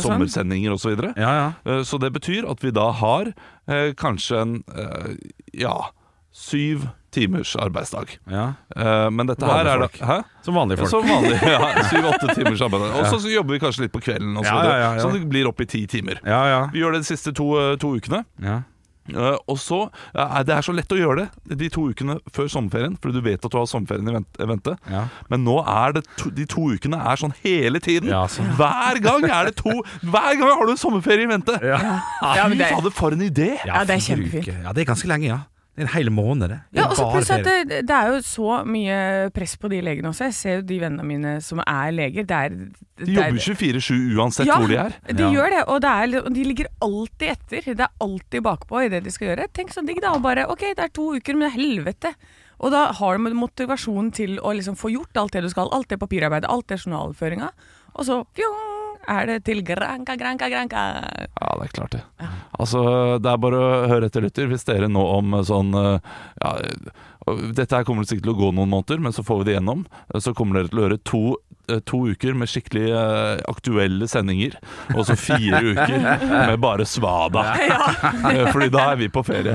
sommer, og sånn. sommersendinger osv. Så, videre. ja, ja. Eh, så det betyr at vi da har eh, kanskje en eh, ja, syv timers arbeidsdag. ja. Eh, men dette Vanlige her er da folk. Hæ? Som vanlige folk. Som vanlig. ja, Syv-åtte timer sammen. Og så jobber vi kanskje litt på kvelden, og så, Ja, videre, ja, ja, ja. så det blir opp i ti timer. Ja, ja. Vi gjør det de siste to, to ukene. ja. Eh, og så eh, Det er så lett å gjøre det de to ukene før sommerferien, fordi du vet at du har sommerferien i vent- vente. Ja. Men nå er det to, de to ukene er sånn hele tiden. Ja, sånn. Hver gang er det to Hver gang har du en sommerferie i vente! Ja. Ja, men Fy det- fader, for en idé! Ja, det er kjempefint. Ja, det er ganske lenge, ja. Det er en hel måned, det. Det er Ja, og så bare pluss at ferie. det, det er jo så mye press på de legene også. Jeg ser jo de vennene mine som er leger. Det er, De jobber 24-7 uansett hvor de er. de Ja. gjør det, og det er, liksom- de ligger alltid etter. Det er alltid bakpå i det de skal gjøre. Tenk så digg, da. Og bare OK, det er to uker, men helvete. Og da har du motivasjon til å liksom få gjort alt det du skal. Alt det papirarbeidet, alt det journalføringa. Og så fjong, er det til granka, granka, granka. Ja, det er klart det. Altså, det er bare å høre etter, lytter. Hvis dere nå om eh, sånn eh, ja, eh, Dette her kommer det sikkert til å gå noen måneder, men så får vi det gjennom. Eh, Så kommer dere til å høre to, eh, to uker med skikkelig eh, aktuelle sendinger. Og så fire uker med bare svada. Eh, Fordi da er vi på ferie.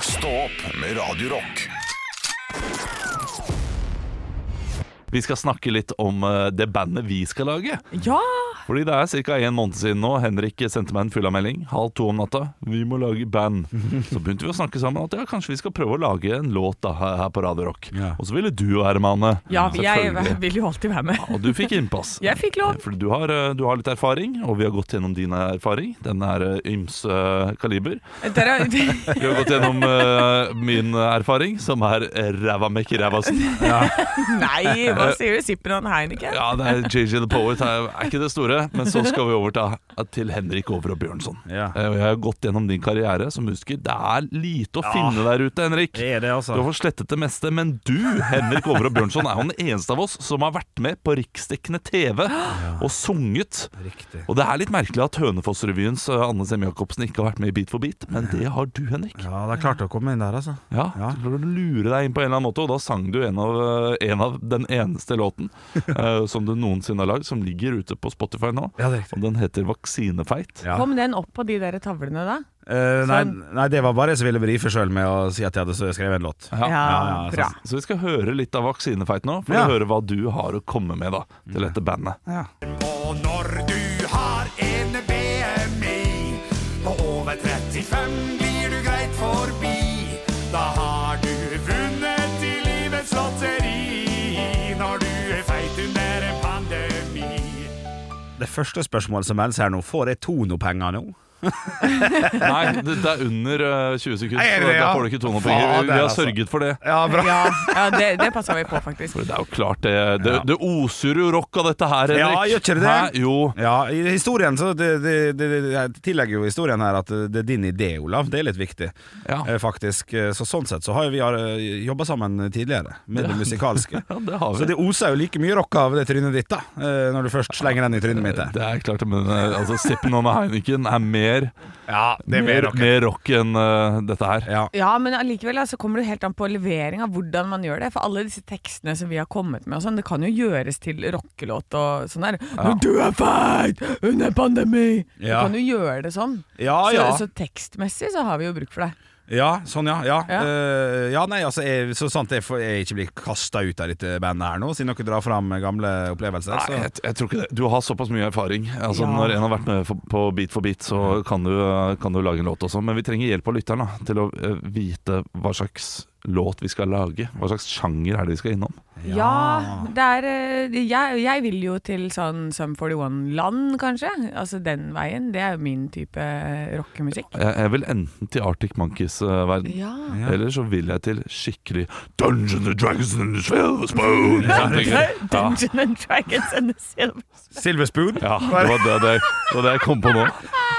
Stå opp med Radio Rock. Vi skal snakke litt om eh, det bandet vi skal lage. Ja! Fordi det er ca. en måned siden nå Henrik sendte meg en fyllamelding halv to om natta. Vi må lage band. Så begynte vi å snakke sammen at ja, kanskje vi skal prøve å lage en låt da her her på Radio Rock. Ja. Og så ville du være med, Anne. Ja, jeg Selvfølgelig. vil jo alltid være med. Og du fikk innpass. Jeg fikk lov. Fordi du har, eh, du har litt erfaring, og vi har gått gjennom din erfaring. Den er eh, ymse eh, kaliber. Dere, Vi har gått gjennom eh, min erfaring, som er ræva mekk rævasen. nei, hva sier du? Sippen og en Heineken? Ja, det er JJ the Poet er, er ikke det store, men så skal vi over til, til Henrik Over og Bjørnson. Ja. Eh, og Jeg har gått gjennom din karriere som musiker. Det er lite å finne der ute, Henrik. Det er det, Du har altså. fått slettet det meste, men du, Henrik Over og Bjørnson, er jo den eneste av oss som har vært med på riksdekkende TV og sunget. Riktig. Og det er litt merkelig at Hønefoss-revyens eh, Anne Sem Jacobsen ikke har vært med i Beat for beat, men det har du, Henrik. Ja, det er klart å komme inn der, altså. Ja, Ja. Du prøver å lure deg inn på en eller annen måte, og da sang du en av, eh, en av den eneste låten eh, som du noensinne har lagd, som ligger ute på Spotify nå. Ja, det er riktig. Og den heter 'Vaksinefeit'. Ja. Kom den opp på de der tavlene da? Eh, nei, Sånn. nei, det var bare jeg som ville brife sjøl med å si at jeg hadde skrevet en låt. Ja, ja, ja, bra. sånn. Så vi skal høre litt av 'Vaksinefeit' nå, for Ja. å høre hva du har å komme med da til dette bandet. Og når du har en BMI på over 35, blir du greit forbi. Da har du vunnet i livets lotteri når du er feit under en pandemi. Det første spørsmålet som meldes her nå, får jeg Tono-penger nå? Nei, det, det er under eh, 20 sekunder, Er det så det, da ja? får du ikke tonepenger. Vi, Fader, vi har altså. sørget for det. Ja, bra. Ja, ja det, det passa vi på, faktisk. For det er jo klart, det, det, det oser jo rock av dette her, Henrik. Ja, gjør ikke det det? Hæ? Jo. Ja, i historien så det, det, det, det- Jeg tillegger jo historien her at det er din idé, Olav. Det er litt viktig, Ja. eh, faktisk. Eh, Så sånn sett så har jo vi jobba sammen tidligere, med det musikalske. ja, det har vi. Så det oser jo like mye rock av det trynet ditt, da, eh, når du først slenger den i trynet mitt. her. Det er klart, men eh, altså, Sippen og Heineken er mer, Ja, det er mye mer, rock. mer rock enn eh, dette her. Ja. Ja, men allikevel altså, kommer det helt an på levering av hvordan man gjør det. For alle disse tekstene som vi har kommet med, og sånn, det kan jo gjøres til rockelåt og sånn der. Når du er feit under pandemi! Ja. Du kan jo gjøre det sånn. Ja, ja. Så, så tekstmessig så har vi jo bruk for det. Ja, sånn ja. Ja, Ja. Eh, ja nei, altså, jeg, så sant jeg, får, jeg ikke blir kasta ut av dette bandet her nå, siden dere drar fram gamle opplevelser. Nei, Så. jeg, jeg tror ikke det. Du har såpass mye erfaring. Altså, Ja. Når en har vært med for- på Beat for beat, så kan du, eh, kan du lage en låt også. Men vi trenger hjelp av lytteren da, til å eh, vite hva slags låt vi skal lage. Hva slags sjanger er det vi skal innom? Ja, det er eh, jeg, jeg vil jo til sånn Sum 41-land, kanskje. Altså den veien. Det er jo min type eh, rockemusikk. Jeg, jeg vil enten til Arctic Monkeys-verden. Ja. Eller så vil jeg til skikkelig Dungeons and Dragons and the Silver Spoon. Sånne ting. Ja. Dungeon and Dragons and the Silver Silver spoon? Ja, det var det, det, det var det jeg kom på nå.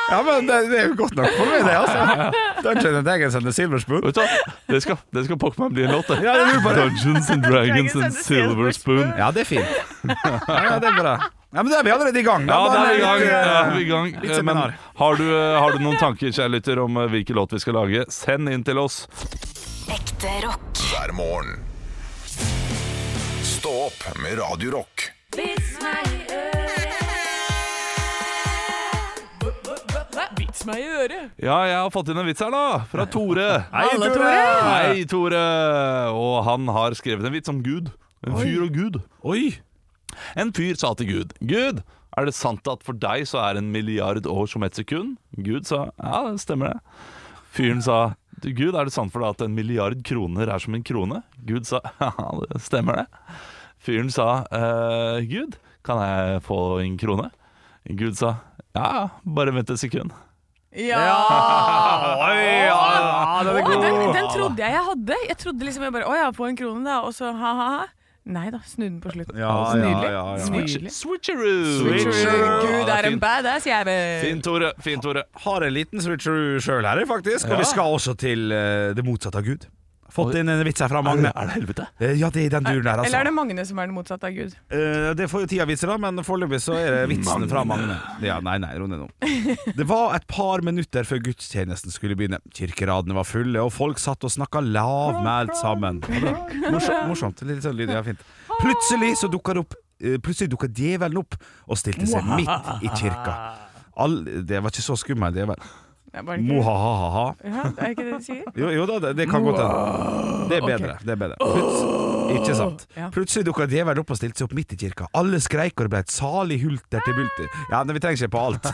Ja, men det, det er jo godt nok for meg, det, altså. Dungeon and Dragons and the Silver Spoon. Vet du hva? Det skal, det skal pokker meg bli en låt, det. Ja, det lurer på det. Dungeons and Dragons and Silver Spoon. Ja, det er fint. Ja, ja, det er bra. Ja, men da er vi allerede i gang. Ja, da. da er vi i gang. Litt, eh, Da er vi i gang. litt Men seminar. har du, eh, har du noen tanker, kjære lytter, om eh, hvilken låt vi skal lage? Send inn til oss. Ekte rock. hver morgen. Stå opp med Radio Rock. Vits meg i øret! Ja, jeg har fått inn en vits her, da. Fra Tore. Hei, Alle, Tore! Tore! Hei, Tore. Og han har skrevet en vits om Gud. En fyr og Gud. Oi! En fyr sa til Gud Gud, er det sant at for deg så er en milliard år som et sekund? Gud sa ja, det stemmer det. Fyren sa «Du, Gud, er det sant for deg at en milliard kroner er som en krone? Gud sa ja, det stemmer det. Fyren sa «Eh, Gud, kan jeg få en krone? Gud sa ja, ja, bare vent et sekund. Ja! Oi, ja, ja, den er Å, god. den, den trodde jeg jeg hadde. Jeg trodde liksom jeg bare Å ja, få en krone, da. Og så ha-ha-ha. Nei da, snu den på slutten. Ja, Så nydelig. ja, ja, ja. Nydelig. Switcheroo! Switcheroo. Gud Ja, er en fint. badass, jeg vel. Fint, Tore. Fint, Tore. Har en liten switcheroo sjøl her, faktisk. Og vi skal også til eh, det motsatte av Gud. Fått inn en vits her fra Er det, Magne. er det helvete? Eh, Ja, det er i den duren der, Eller er altså. det Magne som er den motsatte av Gud? Eh, Det får jo tida vise, da, men foreløpig så er det vitsen fra Magne. Ja, nei, nei, ro ned nå. Det var et par minutter før gudstjenesten skulle begynne. Kirkeradene var fulle, og folk satt og snakka lavmælt sammen. Ja, bra. Morsomt, morsomt. Litt sånn lyd, ja, fint. Plutselig så dukka det opp eh, Plutselig dukka djevelen opp og stilte seg midt i kirka. All, det var ikke så skummel djevel. Det er bare ikke- Mohahaha. Ja, det er ikke det de sier? Jo, jo da, det, det kan godt hende. Det er bedre. Det er bedre. Plutselig, ikke sant? Ja. Plutselig dukka djevelen opp og stilte seg opp midt i kirka. Alle skreik, og det ble et salig hulter til bulter. Ja, men vi trenger ikke på alt.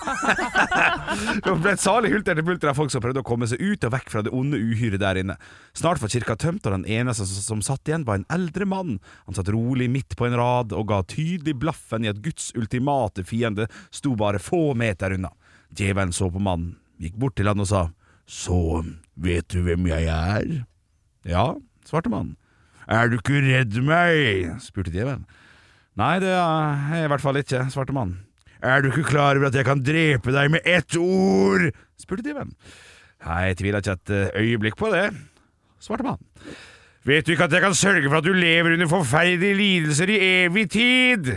det ble et salig hulter til bulter av folk som prøvde å komme seg ut og vekk fra det onde uhyret der inne. Snart var kirka tømt, og den eneste som, som satt igjen, var en eldre mann. Han satt rolig midt på en rad og ga tydelig blaffen i at Guds ultimate fiende sto bare få meter unna. Djevelen så på mannen, gikk bort til han og sa Så vet du hvem jeg er? Ja, svarte mannen. Er du ikke redd meg? spurte djevelen. Nei, det er jeg i hvert fall ikke, svarte mannen. Er du ikke klar over at jeg kan drepe deg med ett ord? spurte djevelen. Nei, jeg tviler ikke et eh, øyeblikk på det, svarte mannen. Vet du ikke at jeg kan sørge for at du lever under forferdelige lidelser i evig tid?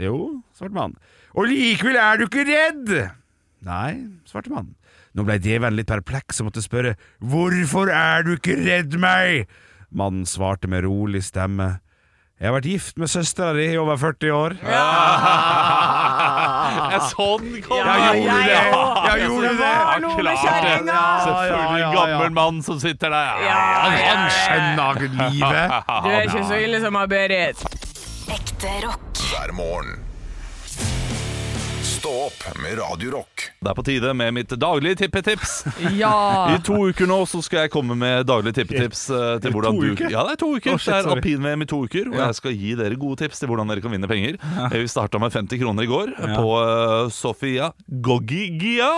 Jo, svarte mannen. Og likevel er du ikke redd? Nei, svarte mannen. Nå ble djevelen litt perpleks og måtte spørre Hvorfor er du ikke redd meg? Mannen svarte med rolig stemme Jeg har vært gift med søstera di i over 40 år. Ja, Jeg så den komme! jeg gjorde det! Jeg gjorde det! var noe med kjerringa! Selvfølgelig ja, ja, ja. gammel mann som sitter der. Ja, ja, Han ja. skjønner livet. Du er ikke så ille som Berit. Ekte rock. hver morgen. Stå opp med Radio Rock. Det er på tide med mitt daglige tippetips. I Ja. to uker nå så skal jeg komme med daglige tippetips eh, til hvordan to du uker? Ja, det er to uker. Å, shit, det er sorry. alpin-VM i to uker, og jeg skal gi dere gode tips til hvordan dere kan vinne penger. Eh, Vi starta med 50 kroner i går på eh, Sofia Gogigia.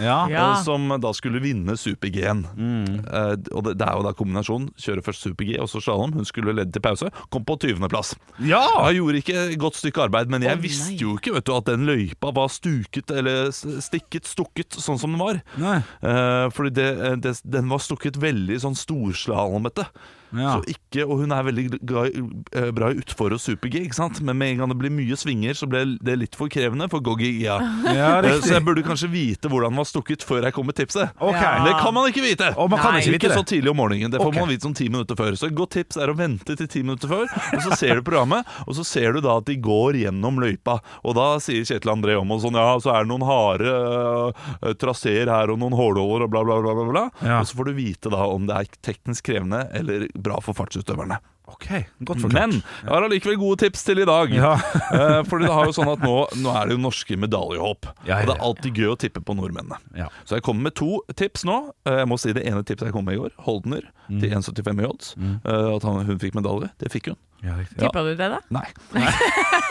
Ja. Ja. eh, Som da skulle vinne Super-G-en. Eh, og det, det er jo da kombinasjonen. Kjøre først Super-G og så slalåm. Hun skulle lede til pause. Kom på 20. plass. ja! Ja, jeg gjorde ikke et godt stykke arbeid, men jeg visste jo ikke vet du, at den løypa var stuket eller s- stikket, stukket, sånn som den var. Nei. Eh, fordi det, eh, det, den var stukket veldig sånn storslalåmete. Ja. Så ikke, og hun er veldig ga- eh, bra i utfor og super-G, ikke sant? men med en gang det blir mye svinger, så ble det litt for krevende for Goggi. Ja. Ja, Eh, riktig. så jeg burde kanskje vite hvordan den var stukket før jeg kom med tipset. Ok. Ja. Det kan man ikke vite! Og man kan Nei, ikke Ikke vite så det. tidlig om morgenen. Det får Ok. man vite sånn ti minutter før. Så et godt tips er å vente til ti minutter før, og så ser du programmet, og så ser du da at de går gjennom løypa. Og da sier Kjetil André om og sånn Ja, så er det noen harde øh, traseer her, og noen hårhåler, og bla, bla, bla. bla, bla. Ja. Og så får du vite da om det er teknisk krevende eller bra for fartsutøverne. Ok, godt forklart. Men jeg har allikevel gode tips til i dag. Ja. Eh, Fordi det har jo sånn at nå, nå er det jo norske medaljehopp. Ja, ja, Og det ja. er alltid gøy å tippe på nordmennene. Ja. Så jeg kommer med to tips nå. Eh, Jeg må si det ene tipset jeg kom med i går. Holdner til Mm. 1,75 i odds. Eh, At han, hun fikk medalje. Det fikk hun. Ja, riktig. Ja. Tippa du det, da? Nei.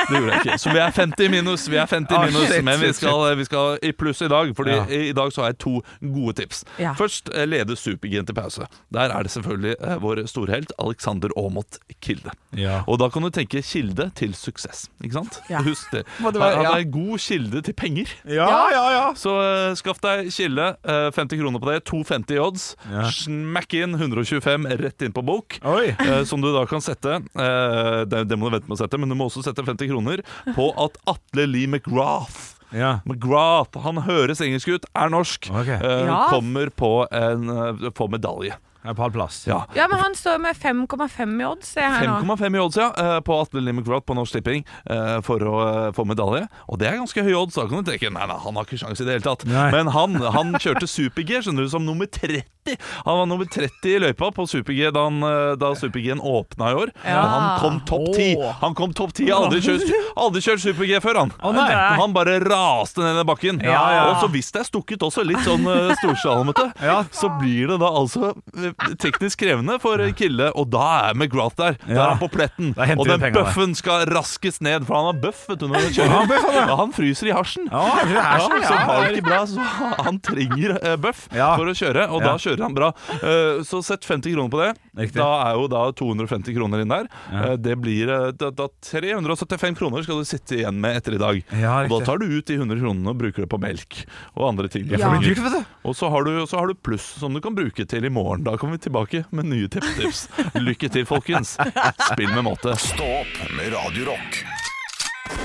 Det gjorde jeg ikke. Så vi er 50 minus, vi er 50 Ah, minus shit, men vi shit, skal, vi skal i pluss i dag. Fordi Ja. i dag så har jeg to gode tips. Ja. Først eh, leder Supergen til pause. Der er det selvfølgelig eh, vår storhelt Alexander Aamodt Kilde. Ja. Og da kan du tenke kilde til suksess. Ikke sant? Ja. Husk det. Må det Han være- han ja. er en god kilde til penger. ja, ja, ja. Så eh, skaff deg kilde. eh, 50 kroner på det. 2,50 i odds. Ja. Smakk inn 125 rett inn på bok. Oi. Eh, som du da kan sette eh, det, det må du vente med å sette, men du må også sette 50 kroner på at Atle Lee McGrath Ja. McGrath, Han høres engelsk ut, er norsk, Ok. eh, Ja. kommer på en eh, får medalje. Jeg er på halv plass. Ja. Ja, men han står med 5,5 i odds, ser jeg her nå. 5,5 i odds ja, eh, på Atle Lee McGrath på Norsk Tipping eh, for å eh, få medalje. Og det er ganske høye odds. Da kan du tenke nei, nei, han har ikke sjanse i det hele tatt. Nei. Men han, han kjørte super-G skjønner du, som nummer 30. Han var nummer 30 i løypa på super-G da, han, eh, da super-G-en åpna i år. Ja. Og han kom topp 10. Han kom topp 10. Aldri kjørt, aldri kjørt super-G før, han. nei. han bare raste ned den bakken. Ja, ja. Og så hvis det er stukket også, litt sånn eh, storsalmete, Ja. så blir det da altså eh, teknisk krevende for Kille, og da er McGrath der. Der Ja. er han på pletten. Da henter Og vi den pengene. bøffen skal raskes ned, for han har bøff vet du, når han Ja, han bøff, kjører. han, ja. Ja, han fryser i hasjen. Ja, det er Ja, sånn, så ja. har det ikke bra, så han trenger eh, bøff Ja. for å kjøre, og Ja. da kjører han bra. Eh, Så sett 50 kroner på det. Riktig. Da er jo da 250 kroner inn der. Eh, Det blir eh, da, da 375 kroner skal du sitte igjen med etter i dag. Ja, og da riktig. tar du ut de 100 kronene og bruker det på melk og andre ting. Ja. Det blir dyrt, vet du. Og så har, du, så har du pluss som du kan bruke til i morgen. Da kommer vi tilbake med nye tippetips. Lykke til, folkens. Spill med måte. Stå opp med Radio Rock.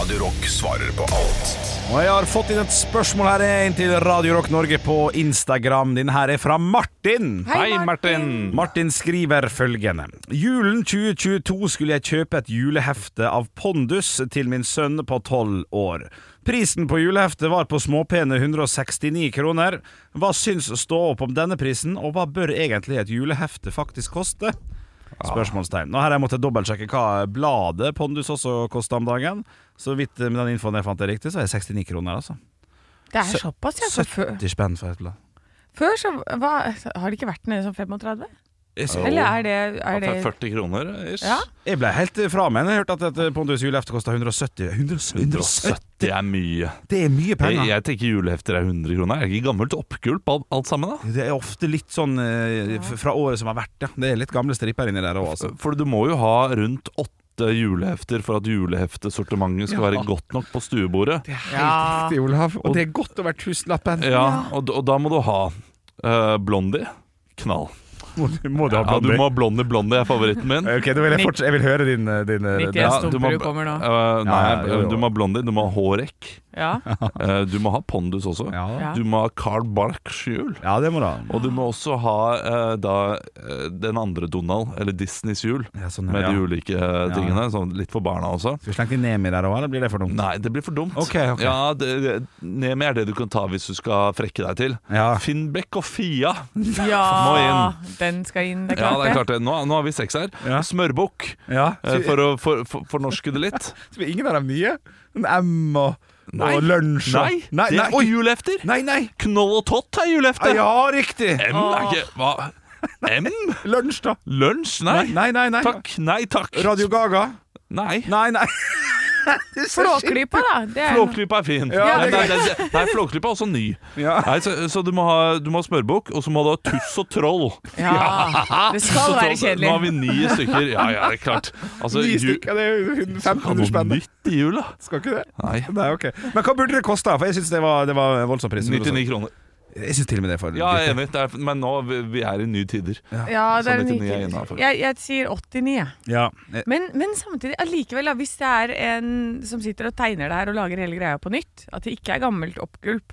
Radio Rock svarer på alt. Og jeg har fått inn et spørsmål her inn til Radio Rock Norge på Instagram. Din her er fra Martin. Hei, Martin! Martin skriver følgende Julen 2022 skulle jeg kjøpe et julehefte av Pondus til min sønn på 12 år Prisen på juleheftet var på småpene 169 kroner Hva syns stå opp om denne prisen, og hva bør egentlig et julehefte faktisk koste? Spørsmålstegn Nå her har jeg måttet dobbeltsjekke hva bladet Pondus også kostet om dagen Så vidt eh, med den infoen jeg fant det riktig, så er det 69 kroner altså Det er såpass, ja. For før, 70 spenn for et blad før så hva, Har det ikke vært sånn nede som 35? Jo. Eller er det, er det Ja, 40 kroner ish. Ja. Jeg ble helt eh, fra meg når jeg hørte at et Pondus julehefte kostet 170 170? 170 er mye. Det er mye Jeg, penger jeg tenker julehefter er 100 kroner. Er det ikke gammelt oppgulp alt, alt sammen, da? Det er ofte litt sånn eh, f- fra året som har vært, ja. Det er litt gamle stripper inni der òg, altså. For du må jo ha rundt åtte julehefter for at juleheftesortimentet skal være godt nok på stuebordet. Ja. riktig, Olav. Og det er godt over tusenlappen. Ja, og, d- og da må du ha eh, Blondie. Knall. Må, må du ha Ja, du blondie? må ha Blondie. Blondie er favoritten min. Ok, da vil jeg, forts- jeg vil høre din, eh, din eh, Nick, den- jeg Ja, du må- stumper du kommer nå. Eh, nei, Ja, ja, jo, jo. du må ha blondie, du må ha hårrekk, Ja. eh, du må ha pondus også. ja. Ja. Du må ha Carl Barks jul. ja, det må du ha. Og du må også ha eh, da eh, den andre Donald, eller Disneys jul, Ja, sånn, med ja. de ulike eh, tingene. Sånn litt for barna også. Skal vi slenge til Nemi der òg, eller blir det for dumt? Nei, det blir for dumt. Ok, ok. Ja, det, det, Nemi er det du kan ta hvis du skal frekke deg til. Ja. Finnbekk og Fia. ja. Den skal inn, det er Ja, klart det er klart det. Nå, nå har vi seks her. Ja. Smørbukk, Ja. eh, for å for- for- fornorske det litt. Så ingen av dem nye? En M og, Nei. og lunsj og Nei, det er ikke Eh. julehefter! Nei, nei! Knoll og tott er julehefte! Ah, Ja, riktig! M er ikke Hva? M? Lunsj, da. Lunsj? Nei. Nei, nei, nei. Takk. Nei takk. Radio Gaga. Nei. Nei, nei. Flåklypa, da. Det er Flåklypa er fin. Ja, nei, det er nei, nei, nei, Flåklypa er også ny. Ja. Nei, så, så du må ha, du må ha smørbukk, og så må du ha tuss og troll. ja. Det Så skal troll- være Nå har kjedelig. vi ni stykker. Ja, ja, det er klart. Altså, Ni ju- stykker, det er jo 1500 noe spenn. nytt i jula? Skal ikke det? Nei. Nei, ok Men hva burde det koste? For jeg syns det, var- det var voldsom pris. 99 kroner. Jeg syns til og med det er for Ja, jeg er enig. Det er, men nå vi, vi er i nye tider. Ja, det er Så 99 er like. innenfor. jeg, jeg sier 89, jeg. Ja. Eh, Men, men samtidig, allikevel, da, hvis det er en som sitter og tegner det her og lager hele greia på nytt, at det ikke er gammelt oppgulp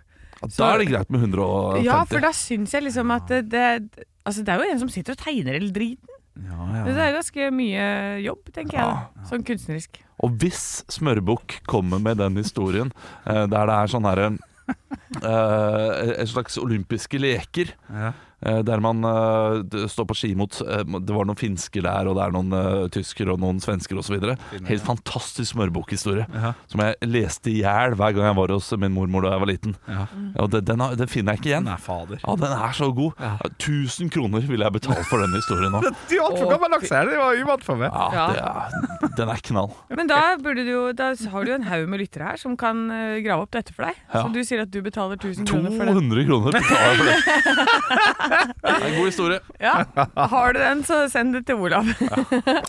Da er det greit med 150. Ja, for da syns jeg liksom at det, det Altså, det er jo en som sitter og tegner hele driten. ja, Det ja. er ganske mye jobb, tenker jeg. da Sånn kunstnerisk. Og hvis Smørbukk kommer med den historien eh, der det er sånn herre eh, En slags olympiske leker. Ja. eh, der man eh, d- står på ski mot eh, Det var noen finsker der, og det er noen eh, tyskere og noen svensker osv. Helt fantastisk smørbukkhistorie Ja. som jeg leste i hjel hver gang jeg var hos min mormor da jeg var liten. Ja. Og det, den, har- den finner jeg ikke igjen. Nei, fader. Ja, Den er så god. 1000 kroner ville jeg betalt for den historien nå. Du er altfor gammel lakse her, det var uvant for meg. Ja, det er, Den er knall. Men da, burde du, jo- da har du jo en haug med lyttere her som kan eh, grave opp dette for deg. Ja. Så du sier at du betaler 1000 kroner for den. 200 kroner betaler jeg for det. Det er en god historie. Ja. Har du den, så send det til Olav.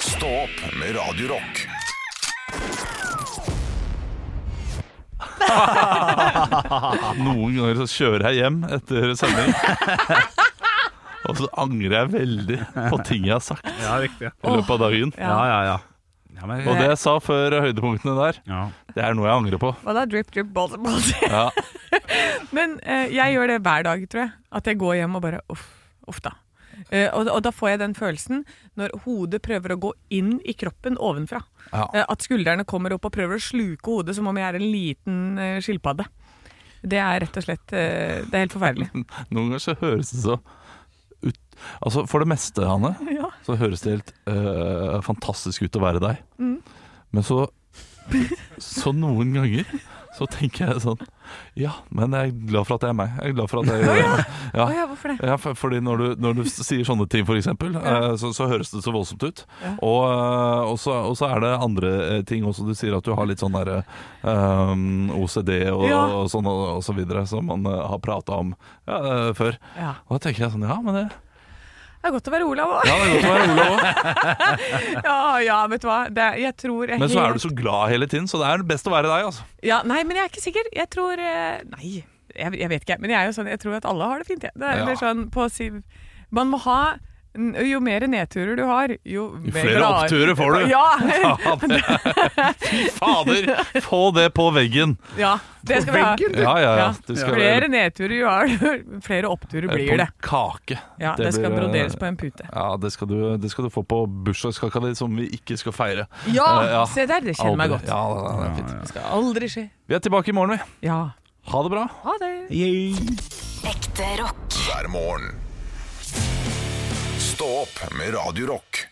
Stå opp med Radio Rock. Noen ganger så kjører jeg hjem etter sending. Og så angrer jeg veldig på ting jeg har sagt i Ja, riktig. løpet av dagen. Ja, ja, ja. ja men, Og det jeg sa før høydepunktene der, ja. det er noe jeg angrer på. Hva da? Drip, drip, bolte, bolte. Ja, Men eh, jeg gjør det hver dag, tror jeg. At jeg går hjem og bare uff, uff da. Eh, og, og da får jeg den følelsen når hodet prøver å gå inn i kroppen ovenfra. Ja. Eh, at skuldrene kommer opp og prøver å sluke hodet som om jeg er en liten eh, skilpadde. Det er rett og slett eh, Det er helt forferdelig. Noen ganger så høres det så ut Altså For det meste, Hanne, Ja. så høres det helt eh, fantastisk ut å være deg. Men så Så noen ganger så tenker jeg sånn Ja, men jeg er glad for at jeg er meg. Jeg er glad for at jeg Å ja, hvorfor det? Ja, for, fordi når du, når du s- sier sånne ting, for eksempel, eh, så, så høres det så voldsomt ut. Og, eh, og, så, og så er det andre eh, ting også. Du sier at du har litt sånn derre ehm, OCD og, Ja. og sånn og, og så videre, som man eh, har prata om ja, eh, før. Ja. Og da tenker jeg sånn Ja, men det, Det er godt å være Olav òg. ja, det er godt å være Olav òg. Ja, ja, vet du hva. Det, er- jeg tror jeg Men så helt- er du så glad hele tiden, så det er best å være deg, altså. Ja, nei, men jeg er ikke sikker. Jeg tror eh, Nei, jeg, jeg vet ikke. Men jeg er jo sånn, jeg tror at alle har det fint. jeg. Det er, Ja. eller sånn, på, si- man må ha n- jo mer nedturer du har, jo mer Flere glad- oppturer får du. Ja, Ja, det, fy fader! Få det på veggen! ja det skal vi ha. Ja, ja, ja. Du Flere nedturer du har, jo flere oppturer blir det. På en kake. Ja, det skal blir, eh, broderes på en pute. Ja, det skal du, det skal du få på bursdagskaka di, som vi ikke skal feire. Ja, Eh, ja. se der, det kjenner meg Aldri. godt. Ja, det er- det er fint. Det skal aldri skje. Vi er tilbake i morgen, vi. Ja. Ha det bra. Ha det. Ekte rock. hver morgen. Stå opp med Radio Rock.